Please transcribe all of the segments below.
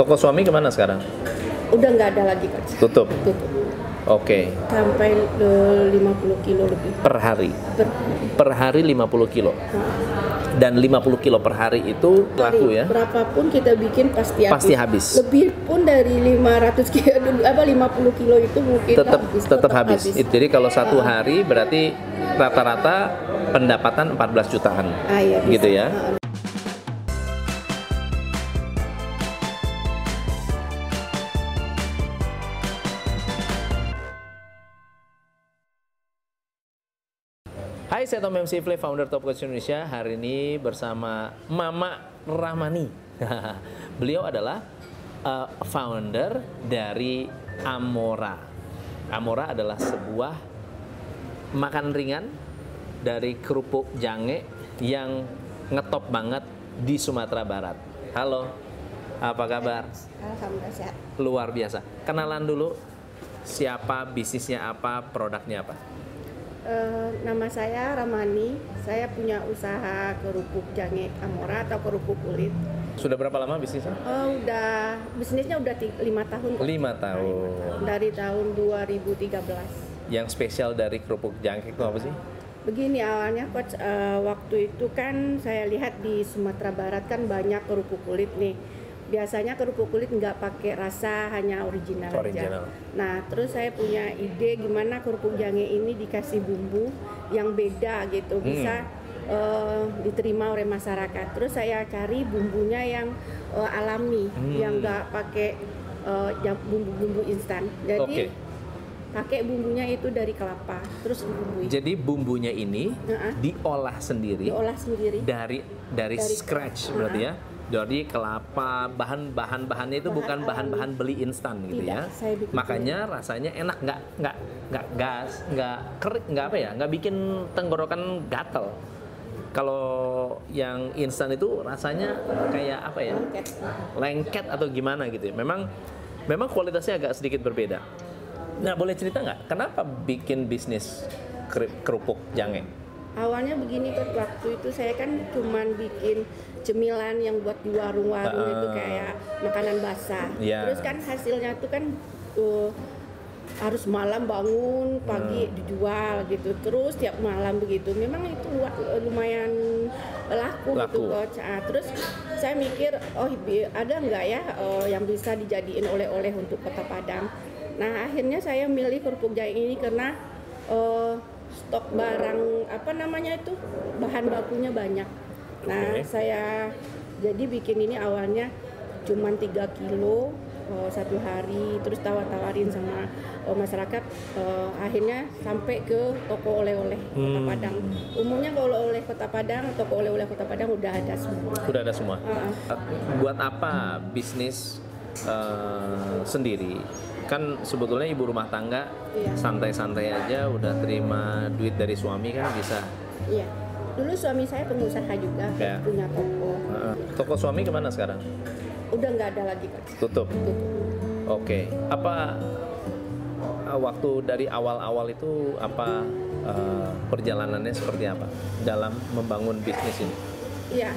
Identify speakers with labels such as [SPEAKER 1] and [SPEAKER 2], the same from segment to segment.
[SPEAKER 1] Toko suami kemana sekarang?
[SPEAKER 2] Udah nggak ada lagi Kak.
[SPEAKER 1] Tutup.
[SPEAKER 2] Tutup.
[SPEAKER 1] Oke.
[SPEAKER 2] Sampai eh, 50 kilo lebih
[SPEAKER 1] Per hari.
[SPEAKER 2] per
[SPEAKER 1] Per hari 50 kilo. Dan 50 kilo per hari itu laku ya.
[SPEAKER 2] Berapapun kita bikin pasti habis.
[SPEAKER 1] Pasti habis.
[SPEAKER 2] Lebih pun dari 500 kilo apa 50 kilo itu mungkin
[SPEAKER 1] Tetap
[SPEAKER 2] habis.
[SPEAKER 1] tetap habis. It- Jadi kalau satu hari berarti rata-rata pendapatan 14 jutaan.
[SPEAKER 2] Ah, iya, bisa.
[SPEAKER 1] Gitu ya.
[SPEAKER 2] Ah,
[SPEAKER 1] Hai, saya Tom MC Play, founder Top Coach Indonesia. Hari ini bersama Mama Rahmani. Beliau adalah uh, founder dari Amora. Amora adalah sebuah makan ringan dari kerupuk jange yang ngetop banget di Sumatera Barat. Halo, apa kabar?
[SPEAKER 2] Alhamdulillah sehat.
[SPEAKER 1] Luar biasa. Kenalan dulu siapa, bisnisnya apa, produknya apa.
[SPEAKER 2] Eh, nama saya Ramani. Saya punya usaha kerupuk jange Amora atau kerupuk kulit.
[SPEAKER 1] Sudah berapa lama bisnisnya?
[SPEAKER 2] Eh, udah bisnisnya udah ti- lima tahun. Kak.
[SPEAKER 1] Lima tahun.
[SPEAKER 2] Dari tahun 2013.
[SPEAKER 1] Yang spesial dari kerupuk jangkrik itu apa sih?
[SPEAKER 2] Begini awalnya coach eh, waktu itu kan saya lihat di Sumatera Barat kan banyak kerupuk kulit nih. Biasanya kerupuk kulit nggak pakai rasa hanya original,
[SPEAKER 1] Original.
[SPEAKER 2] aja. Nah terus saya punya ide gimana kerupuk jange ini dikasih bumbu yang beda
[SPEAKER 1] Hmm.
[SPEAKER 2] gitu bisa eh, diterima oleh masyarakat. Terus saya cari bumbunya yang eh, alami,
[SPEAKER 1] Hmm.
[SPEAKER 2] yang nggak pakai eh, jam- bumbu-bumbu instan. Jadi
[SPEAKER 1] Oke.
[SPEAKER 2] pakai bumbunya itu dari kelapa, terus dibumbui.
[SPEAKER 1] Jadi bumbunya ini
[SPEAKER 2] Heeh.
[SPEAKER 1] diolah sendiri
[SPEAKER 2] diolah sendiri
[SPEAKER 1] dari dari
[SPEAKER 2] Dari-
[SPEAKER 1] scratch berarti ya. Jadi kelapa bahan-bahan bahannya itu
[SPEAKER 2] Bahan
[SPEAKER 1] bukan
[SPEAKER 2] alami.
[SPEAKER 1] bahan-bahan beli instan gitu
[SPEAKER 2] Tidak,
[SPEAKER 1] ya.
[SPEAKER 2] saya bikin
[SPEAKER 1] Makanya rasanya enak nggak nggak nggak gas nggak kering nggak apa ya nggak bikin tenggorokan gatel. Kalau yang instan itu rasanya kayak apa ya?
[SPEAKER 2] lengket
[SPEAKER 1] lengket atau gimana gitu ya. Memang memang kualitasnya agak sedikit berbeda. Nah, boleh cerita nggak kenapa bikin bisnis keri- kerupuk jange?
[SPEAKER 2] awalnya begini kan waktu itu saya kan cuman bikin cemilan yang buat di warung-warung
[SPEAKER 1] Ah.
[SPEAKER 2] itu kayak makanan basah
[SPEAKER 1] Iya.
[SPEAKER 2] terus kan hasilnya tuh kan uh, harus malam bangun pagi
[SPEAKER 1] Hmm.
[SPEAKER 2] dijual gitu terus tiap malam begitu memang itu wa- lumayan laku, gitu
[SPEAKER 1] Laku.
[SPEAKER 2] coach Ah, terus saya mikir oh bi- ada nggak ya eh, yang bisa dijadiin oleh-oleh untuk kota Padang nah akhirnya saya milih kerupuk jahe ini karena eh, stok barang apa namanya itu bahan bakunya banyak nah
[SPEAKER 1] Oke.
[SPEAKER 2] saya jadi bikin ini awalnya cuman 3 kilo eh, satu hari terus tawar-tawarin sama eh, masyarakat eh, akhirnya sampai ke toko oleh-oleh Kota
[SPEAKER 1] Hmm.
[SPEAKER 2] Padang umumnya kalau oleh Kota Padang toko oleh-oleh Kota Padang udah ada semua
[SPEAKER 1] Udah ada semua.
[SPEAKER 2] Heeh.
[SPEAKER 1] Eh, Buat apa bisnis eh, sendiri? Kan sebetulnya ibu rumah tangga
[SPEAKER 2] Iya.
[SPEAKER 1] santai-santai aja udah terima duit dari suami kan bisa.
[SPEAKER 2] Iya. Dulu suami saya pengusaha juga,
[SPEAKER 1] Ya.
[SPEAKER 2] punya toko.
[SPEAKER 1] Eh, Toko suami kemana sekarang?
[SPEAKER 2] Udah nggak ada lagi Kak.
[SPEAKER 1] Tutup.
[SPEAKER 2] Tutup.
[SPEAKER 1] Oke, apa eh, waktu dari awal-awal itu apa eh, perjalanannya seperti apa dalam membangun bisnis ini?
[SPEAKER 2] Iya.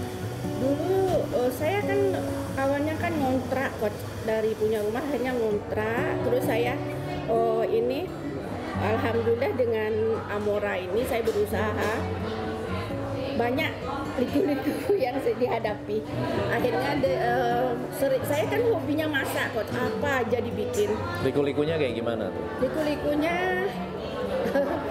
[SPEAKER 2] Dulu eh, saya kan awalnya kan ngontrak Coach. dari punya rumah hanya ngontrak. Terus saya oh ini alhamdulillah dengan Amora ini saya berusaha banyak liku-liku yang saya dihadapi. Akhirnya de- eh, seri- saya kan hobinya masak coach. Apa aja dibikin.
[SPEAKER 1] Liku-likunya kayak gimana tuh?
[SPEAKER 2] liku-likunya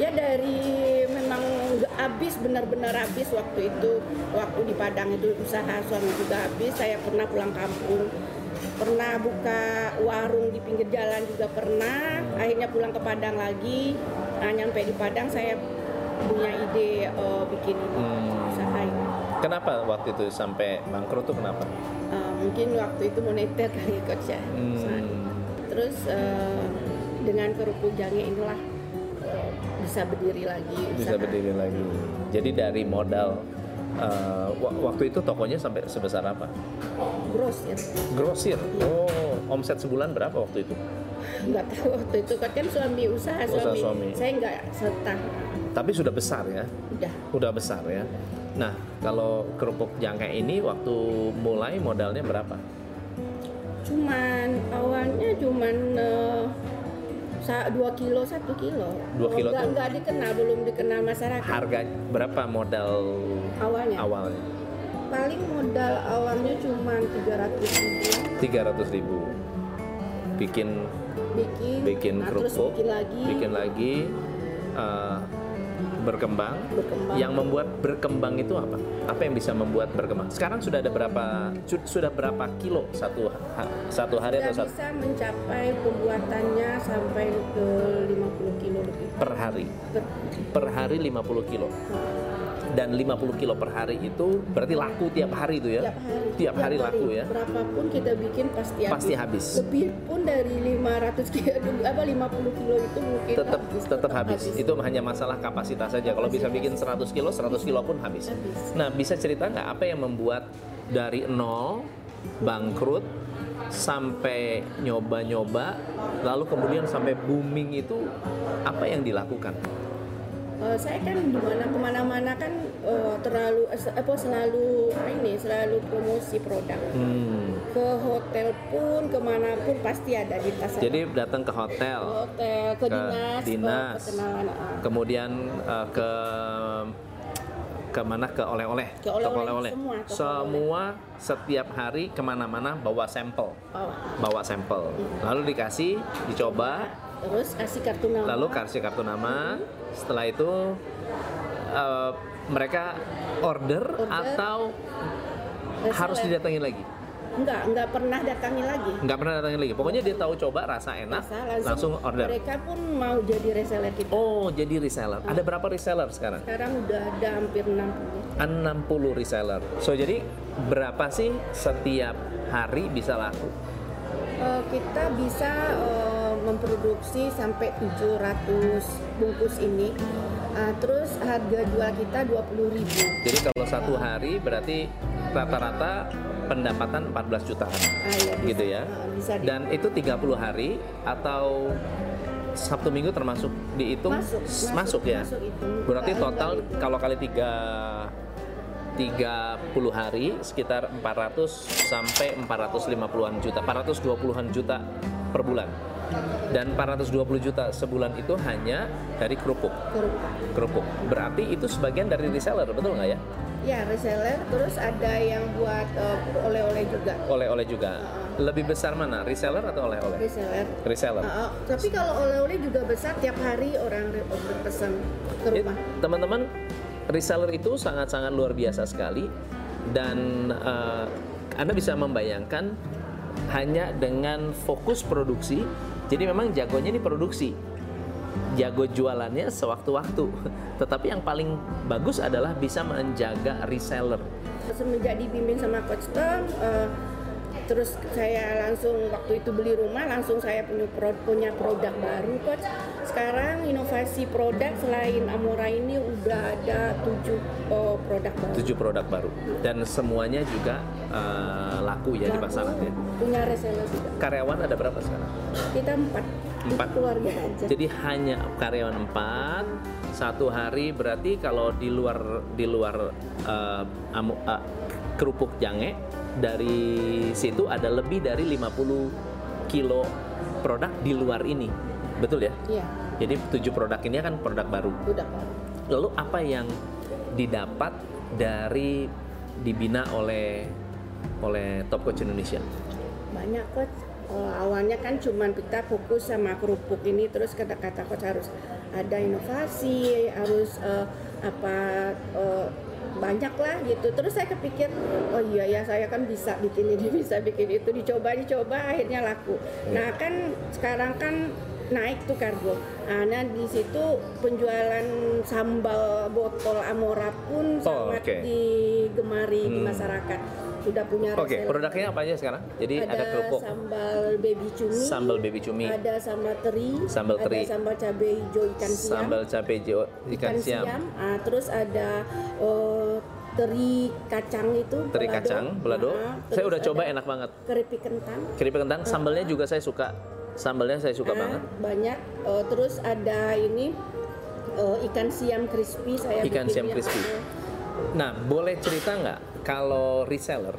[SPEAKER 2] ya dari memang nggak habis benar-benar habis waktu itu waktu di Padang itu usaha suami juga habis saya pernah pulang kampung pernah buka warung di pinggir jalan juga pernah akhirnya pulang ke Padang lagi nah, nyampe di Padang saya punya ide eh, bikin ini
[SPEAKER 1] Hmm.
[SPEAKER 2] usaha ini
[SPEAKER 1] Kenapa waktu itu sampai bangkrut tuh kenapa?
[SPEAKER 2] Eh, mungkin waktu itu moneter kali coach ya
[SPEAKER 1] Hmm.
[SPEAKER 2] Soalnya. terus eh, dengan kerupuk jange inilah eh, bisa berdiri lagi
[SPEAKER 1] Bisa
[SPEAKER 2] usaha.
[SPEAKER 1] berdiri lagi. Jadi dari modal eh, wa- waktu itu tokonya sampai sebesar apa?
[SPEAKER 2] grosir
[SPEAKER 1] Grosir. Oh, omset sebulan berapa waktu itu?
[SPEAKER 2] nggak tahu waktu itu kan kan suami usaha
[SPEAKER 1] Usaha
[SPEAKER 2] suami,
[SPEAKER 1] suami.
[SPEAKER 2] saya nggak serta
[SPEAKER 1] Tapi sudah besar ya.
[SPEAKER 2] udah
[SPEAKER 1] udah besar ya. Nah, kalau kerupuk jangka ini waktu mulai modalnya berapa?
[SPEAKER 2] Cuman awalnya cuman eh, sa- dua kilo satu kilo.
[SPEAKER 1] Dua kilo
[SPEAKER 2] Nggak,
[SPEAKER 1] tuh?
[SPEAKER 2] nggak dikenal, belum dikenal masyarakat
[SPEAKER 1] Harga berapa modal
[SPEAKER 2] awalnya.
[SPEAKER 1] awalnya?
[SPEAKER 2] Paling modal awalnya cuman 300 ribu
[SPEAKER 1] 300.000 Bikin
[SPEAKER 2] bikin,
[SPEAKER 1] bikin
[SPEAKER 2] nah, terus
[SPEAKER 1] kerupuk,
[SPEAKER 2] bikin lagi,
[SPEAKER 1] bikin lagi eh, berkembang.
[SPEAKER 2] berkembang.
[SPEAKER 1] Yang membuat berkembang itu apa? Apa yang bisa membuat berkembang? Sekarang sudah ada berapa su- sudah berapa kilo satu ha- satu hari
[SPEAKER 2] Sudah
[SPEAKER 1] atau satu
[SPEAKER 2] bisa mencapai pembuatannya sampai ke 50 kilo lebih.
[SPEAKER 1] per hari?
[SPEAKER 2] Per-
[SPEAKER 1] Per hari 50 kilo. Dan 50 kilo per hari itu berarti laku tiap hari itu ya?
[SPEAKER 2] tiap hari.
[SPEAKER 1] Tiap hari laku ya?
[SPEAKER 2] Berapapun kita bikin pasti
[SPEAKER 1] Pasti habis.
[SPEAKER 2] Lebih pun dari 500 kilo apa 50 kilo itu mungkin
[SPEAKER 1] tetap tetap habis. Itu hanya masalah kapasitas saja. Kalau bisa bikin 100 kilo, 100 kilo pun habis.
[SPEAKER 2] Habis.
[SPEAKER 1] Nah, bisa cerita nggak apa yang membuat dari nol bangkrut sampai nyoba-nyoba, lalu kemudian sampai booming itu apa yang dilakukan?
[SPEAKER 2] Eh, saya kan dimana kemana-mana kan eh, terlalu eh, se- apa selalu ini selalu promosi produk
[SPEAKER 1] Hmm.
[SPEAKER 2] ke hotel pun kemanapun pasti ada di tas saya.
[SPEAKER 1] Jadi datang ke
[SPEAKER 2] Ke
[SPEAKER 1] hotel,
[SPEAKER 2] hotel ke,
[SPEAKER 1] ke
[SPEAKER 2] dinas, eh,
[SPEAKER 1] dinas.
[SPEAKER 2] perkenalan, ah.
[SPEAKER 1] kemudian eh, ke kemana ke oleh-oleh,
[SPEAKER 2] Ke oleh-oleh,
[SPEAKER 1] Toko oleh-oleh.
[SPEAKER 2] semua toko
[SPEAKER 1] semua setiap hari kemana-mana bawa sampel.
[SPEAKER 2] Oh,
[SPEAKER 1] bawa sampel lalu dikasih dicoba
[SPEAKER 2] terus kasih kartu nama
[SPEAKER 1] lalu kasih kartu nama setelah itu eh, mereka order,
[SPEAKER 2] Order.
[SPEAKER 1] atau
[SPEAKER 2] Eh,
[SPEAKER 1] harus
[SPEAKER 2] seleb.
[SPEAKER 1] didatengin lagi
[SPEAKER 2] enggak enggak pernah datangi lagi
[SPEAKER 1] nggak pernah datengin lagi pokoknya dia tahu coba rasa enak
[SPEAKER 2] Rasa
[SPEAKER 1] Nah, langsung, order
[SPEAKER 2] mereka pun mau jadi reseller kita
[SPEAKER 1] oh jadi reseller ada
[SPEAKER 2] Ah.
[SPEAKER 1] berapa reseller sekarang
[SPEAKER 2] sekarang udah ada hampir 60
[SPEAKER 1] 60 reseller so jadi berapa sih setiap hari bisa laku
[SPEAKER 2] Eh, kita bisa eh, memproduksi sampai 700 bungkus ini Ah, terus harga jual kita 20.000
[SPEAKER 1] jadi kalau satu hari berarti rata-rata pendapatan 14 jutaan
[SPEAKER 2] Ah, ya, bisa.
[SPEAKER 1] Gitu ya.
[SPEAKER 2] Ah, bisa di-
[SPEAKER 1] Dan itu 30 hari atau Sabtu Minggu termasuk dihitung
[SPEAKER 2] masuk,
[SPEAKER 1] S- masuk, ya.
[SPEAKER 2] masuk itu.
[SPEAKER 1] Berarti
[SPEAKER 2] Enggak,
[SPEAKER 1] total
[SPEAKER 2] enggak itu.
[SPEAKER 1] kalau kali 3 30 hari sekitar 400 sampai 450-an juta, 420-an juta per bulan. Dan 420 juta sebulan itu hanya dari kerupuk,
[SPEAKER 2] Kurang.
[SPEAKER 1] kerupuk. Berarti itu sebagian dari reseller, betul nggak ya?
[SPEAKER 2] ya reseller terus ada yang buat eh, oleh-oleh juga
[SPEAKER 1] Oleh-oleh juga. Lebih besar mana, reseller atau oleh-oleh?
[SPEAKER 2] reseller
[SPEAKER 1] Reseller.
[SPEAKER 2] Ah, ah. tapi kalau oleh-oleh juga besar tiap hari orang re- berpesan ke
[SPEAKER 1] Ya,
[SPEAKER 2] rumah
[SPEAKER 1] teman-teman reseller itu sangat-sangat luar biasa sekali dan eh, anda bisa membayangkan hanya dengan fokus produksi jadi memang jagonya ini produksi jago jualannya sewaktu-waktu tetapi yang paling bagus adalah bisa menjaga reseller
[SPEAKER 2] semenjak dibimbing sama coach Tom eh, terus saya langsung waktu itu beli rumah langsung saya punya pro- punya produk baru coach sekarang inovasi produk selain Amora ini udah ada tujuh eh, produk baru
[SPEAKER 1] tujuh produk baru dan semuanya juga eh, laku ya di
[SPEAKER 2] Laku,
[SPEAKER 1] pasaran ya.
[SPEAKER 2] punya reseller juga
[SPEAKER 1] karyawan ada berapa sekarang
[SPEAKER 2] kita empat Itu
[SPEAKER 1] Empat.
[SPEAKER 2] keluarga aja
[SPEAKER 1] Jadi hanya karyawan 4 satu hari berarti kalau di luar di luar eh, amu- eh, kerupuk jange dari situ ada lebih dari 50 kilo produk di luar ini. Betul ya?
[SPEAKER 2] iya
[SPEAKER 1] Jadi tujuh produk ini kan produk baru.
[SPEAKER 2] udah baru
[SPEAKER 1] Lalu apa yang didapat dari dibina oleh oleh Top Coach Indonesia?
[SPEAKER 2] banyak coach Eh, awalnya kan cuman kita fokus sama kerupuk ini terus kata kata coach harus ada inovasi harus eh, apa eh, banyak lah gitu terus saya kepikir oh iya ya saya kan bisa bikin ini bisa bikin itu dicoba dicoba akhirnya laku
[SPEAKER 1] Iya.
[SPEAKER 2] nah kan sekarang kan naik tuh kargo nah nah, di situ penjualan sambal botol amora pun
[SPEAKER 1] Oh,
[SPEAKER 2] sangat
[SPEAKER 1] oke.
[SPEAKER 2] digemari di
[SPEAKER 1] Hmm.
[SPEAKER 2] masyarakat sudah punya
[SPEAKER 1] Oke,
[SPEAKER 2] reseller.
[SPEAKER 1] produknya apa aja sekarang? Jadi ada,
[SPEAKER 2] ada,
[SPEAKER 1] kerupuk,
[SPEAKER 2] sambal baby cumi,
[SPEAKER 1] sambal baby cumi,
[SPEAKER 2] ada sambal teri,
[SPEAKER 1] Sambal
[SPEAKER 2] ada
[SPEAKER 1] teri.
[SPEAKER 2] sambal cabai hijau ikan siam,
[SPEAKER 1] sambal cabai jo- ikan siam,
[SPEAKER 2] Ah, terus ada eh, teri kacang itu,
[SPEAKER 1] teri
[SPEAKER 2] balado.
[SPEAKER 1] kacang, belado.
[SPEAKER 2] Ah,
[SPEAKER 1] saya
[SPEAKER 2] terus
[SPEAKER 1] udah coba
[SPEAKER 2] ada
[SPEAKER 1] enak banget.
[SPEAKER 2] keripik kentang.
[SPEAKER 1] Keripik kentang, sambalnya juga saya suka. Sambalnya saya suka
[SPEAKER 2] Ah,
[SPEAKER 1] banget.
[SPEAKER 2] Banyak. Eh, terus ada ini eh, ikan siam crispy saya
[SPEAKER 1] Ikan
[SPEAKER 2] bikinnya.
[SPEAKER 1] siam crispy.
[SPEAKER 2] Eh,
[SPEAKER 1] Nah, boleh cerita nggak kalau reseller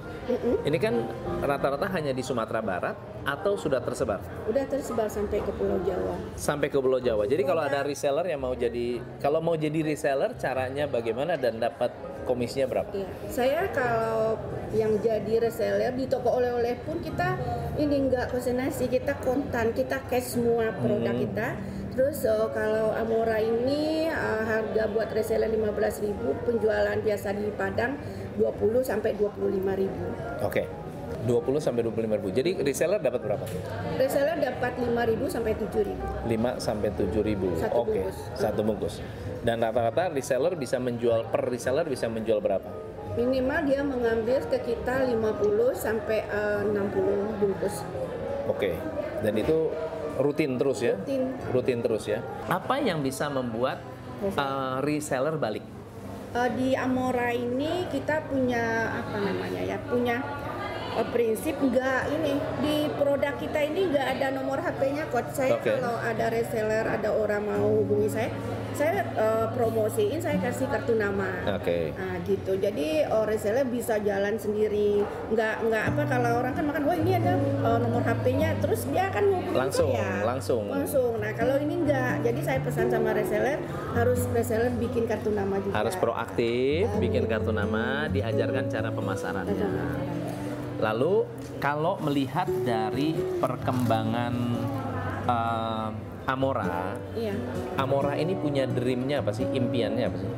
[SPEAKER 1] ini kan rata-rata hanya di Sumatera Barat atau sudah tersebar
[SPEAKER 2] udah tersebar sampai ke Pulau Jawa.
[SPEAKER 1] sampai ke Pulau Jawa. Jadi kalau ada reseller yang mau jadi kalau mau jadi reseller caranya bagaimana dan dapat komisinya berapa?
[SPEAKER 2] Iya, saya kalau yang jadi reseller di toko oleh-oleh pun kita ini nggak konsentrasi, kita kontan, kita cash semua produk
[SPEAKER 1] Hmm.
[SPEAKER 2] kita. Terus eh, kalau Amora ini eh, harga buat reseller 15.000, penjualan biasa di Padang 20 sampai 25.000.
[SPEAKER 1] Oke. 20 sampai 25 ribu. Jadi reseller dapat berapa?
[SPEAKER 2] Reseller dapat 5.000 sampai 7.000.
[SPEAKER 1] 5 sampai 7 ribu.
[SPEAKER 2] Satu
[SPEAKER 1] Oke,
[SPEAKER 2] bungkus.
[SPEAKER 1] satu bungkus. Dan rata-rata reseller bisa menjual per reseller bisa menjual berapa?
[SPEAKER 2] Minimal dia mengambil ke kita 50 sampai eh, 60 bungkus.
[SPEAKER 1] Oke. Dan itu rutin terus ya?
[SPEAKER 2] Tin
[SPEAKER 1] Rutin terus ya. Apa yang bisa membuat uh, reseller balik?
[SPEAKER 2] Eh, di Amora ini kita punya apa namanya ya punya eh, prinsip enggak ini di produk kita ini enggak ada nomor HP-nya coach saya
[SPEAKER 1] Oke.
[SPEAKER 2] kalau ada reseller ada orang mau hubungi saya saya eh, promosiin saya kasih kartu nama
[SPEAKER 1] Oke.
[SPEAKER 2] Nah, gitu jadi eh, reseller bisa jalan sendiri enggak enggak apa kalau orang kan makan wah ini ada eh, nomor HP-nya terus dia akan hubungi
[SPEAKER 1] Langsung,
[SPEAKER 2] saya.
[SPEAKER 1] langsung.
[SPEAKER 2] langsung nah kalau ini enggak jadi saya pesan sama reseller harus reseller bikin kartu nama juga
[SPEAKER 1] Harus proaktif, bikin kartu nama, diajarkan cara pemasarannya. Lalu kalau melihat dari perkembangan eh, Amora,
[SPEAKER 2] Iya.
[SPEAKER 1] Amora ini punya dreamnya apa sih? Impiannya apa sih?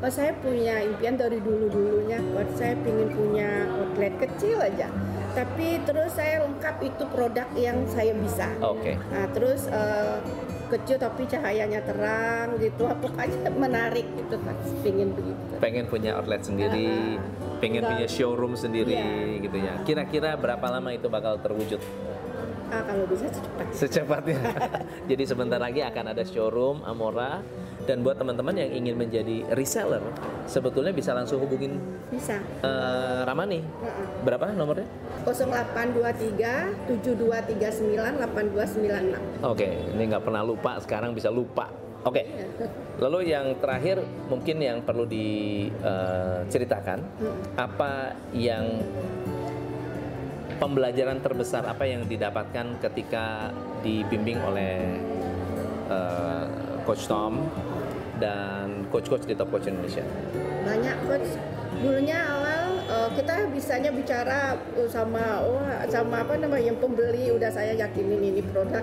[SPEAKER 2] Oh, saya punya impian dari dulu-dulunya buat saya pingin punya outlet kecil aja. Tapi terus saya lengkap itu produk yang saya bisa.
[SPEAKER 1] Oke.
[SPEAKER 2] Nah, terus eh, kecil tapi cahayanya terang gitu. Pokoknya menarik gitu kan. Pingin begitu.
[SPEAKER 1] Pengen punya outlet sendiri, pengen
[SPEAKER 2] Enggak.
[SPEAKER 1] punya showroom sendiri
[SPEAKER 2] Iya.
[SPEAKER 1] gitu ya. Kira-kira berapa lama itu bakal terwujud?
[SPEAKER 2] Ah, kalau bisa cepat.
[SPEAKER 1] secepatnya. Jadi sebentar lagi akan ada showroom Amora dan buat teman-teman yang ingin menjadi reseller sebetulnya bisa langsung hubungin
[SPEAKER 2] Bisa.
[SPEAKER 1] eh, Ramani.
[SPEAKER 2] Heeh.
[SPEAKER 1] Berapa nomornya?
[SPEAKER 2] 0823 7239 8296.
[SPEAKER 1] Oke, ini nggak pernah lupa, sekarang bisa lupa. Oke. Lalu yang terakhir mungkin yang perlu diceritakan apa yang pembelajaran terbesar apa yang didapatkan ketika dibimbing oleh eh, Coach Tom dan coach-coach di Top Coach Indonesia.
[SPEAKER 2] banyak coach dulunya awal eh, kita bisanya bicara eh, sama wah, sama apa namanya yang pembeli udah saya yakinin ini produk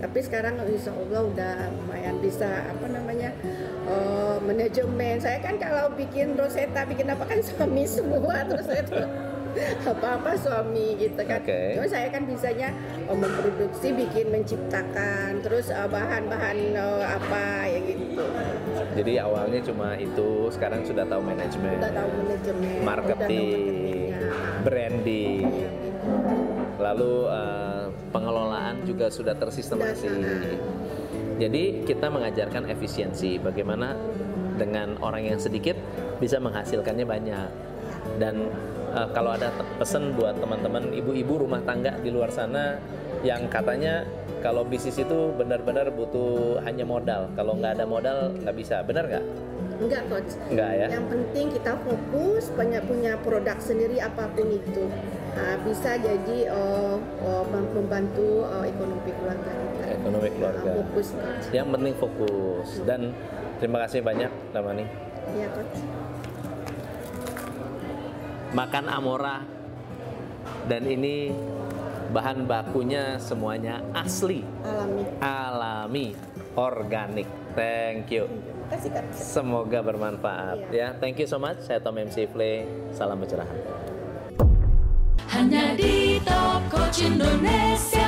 [SPEAKER 2] tapi sekarang insya Allah udah lumayan bisa apa namanya eh, manajemen saya kan kalau bikin roseta bikin apa kan suami semua terus saya tuh apa-apa suami gitu kan
[SPEAKER 1] Oke.
[SPEAKER 2] Cuma saya kan bisanya eh, memproduksi bikin menciptakan terus eh, bahan-bahan eh, apa ya gitu
[SPEAKER 1] Jadi awalnya cuma itu, sekarang sudah tahu manajemen,
[SPEAKER 2] udah tahu manajemen udah tahu
[SPEAKER 1] marketing,
[SPEAKER 2] marketingnya.
[SPEAKER 1] branding, lalu eh, pengelolaan juga sudah tersistemasi. Jadi kita mengajarkan efisiensi, bagaimana dengan orang yang sedikit bisa menghasilkannya banyak. Dan eh, kalau ada te- pesan buat teman-teman ibu-ibu rumah tangga di luar sana yang katanya kalau bisnis itu benar-benar butuh hanya modal, kalau nggak ada modal nggak bisa, benar nggak?
[SPEAKER 2] Enggak coach.
[SPEAKER 1] Nggak ya?
[SPEAKER 2] Yang penting kita fokus punya punya produk sendiri apapun itu. Nah, bisa jadi eh, eh, mem- membantu eh, ekonomi keluarga kita.
[SPEAKER 1] Ekonomi keluarga.
[SPEAKER 2] Nah, fokus coach.
[SPEAKER 1] Yang penting fokus dan terima kasih banyak Ramani.
[SPEAKER 2] Iya coach.
[SPEAKER 1] makan Amora dan ini bahan bakunya semuanya asli,
[SPEAKER 2] Alami.
[SPEAKER 1] alami, organik. Thank you.
[SPEAKER 2] Terima kasih coach.
[SPEAKER 1] Semoga bermanfaat ya. Thank you so much. Saya Tom MC Play. Salam pencerahan.
[SPEAKER 3] hanya di Top Coach Indonesia.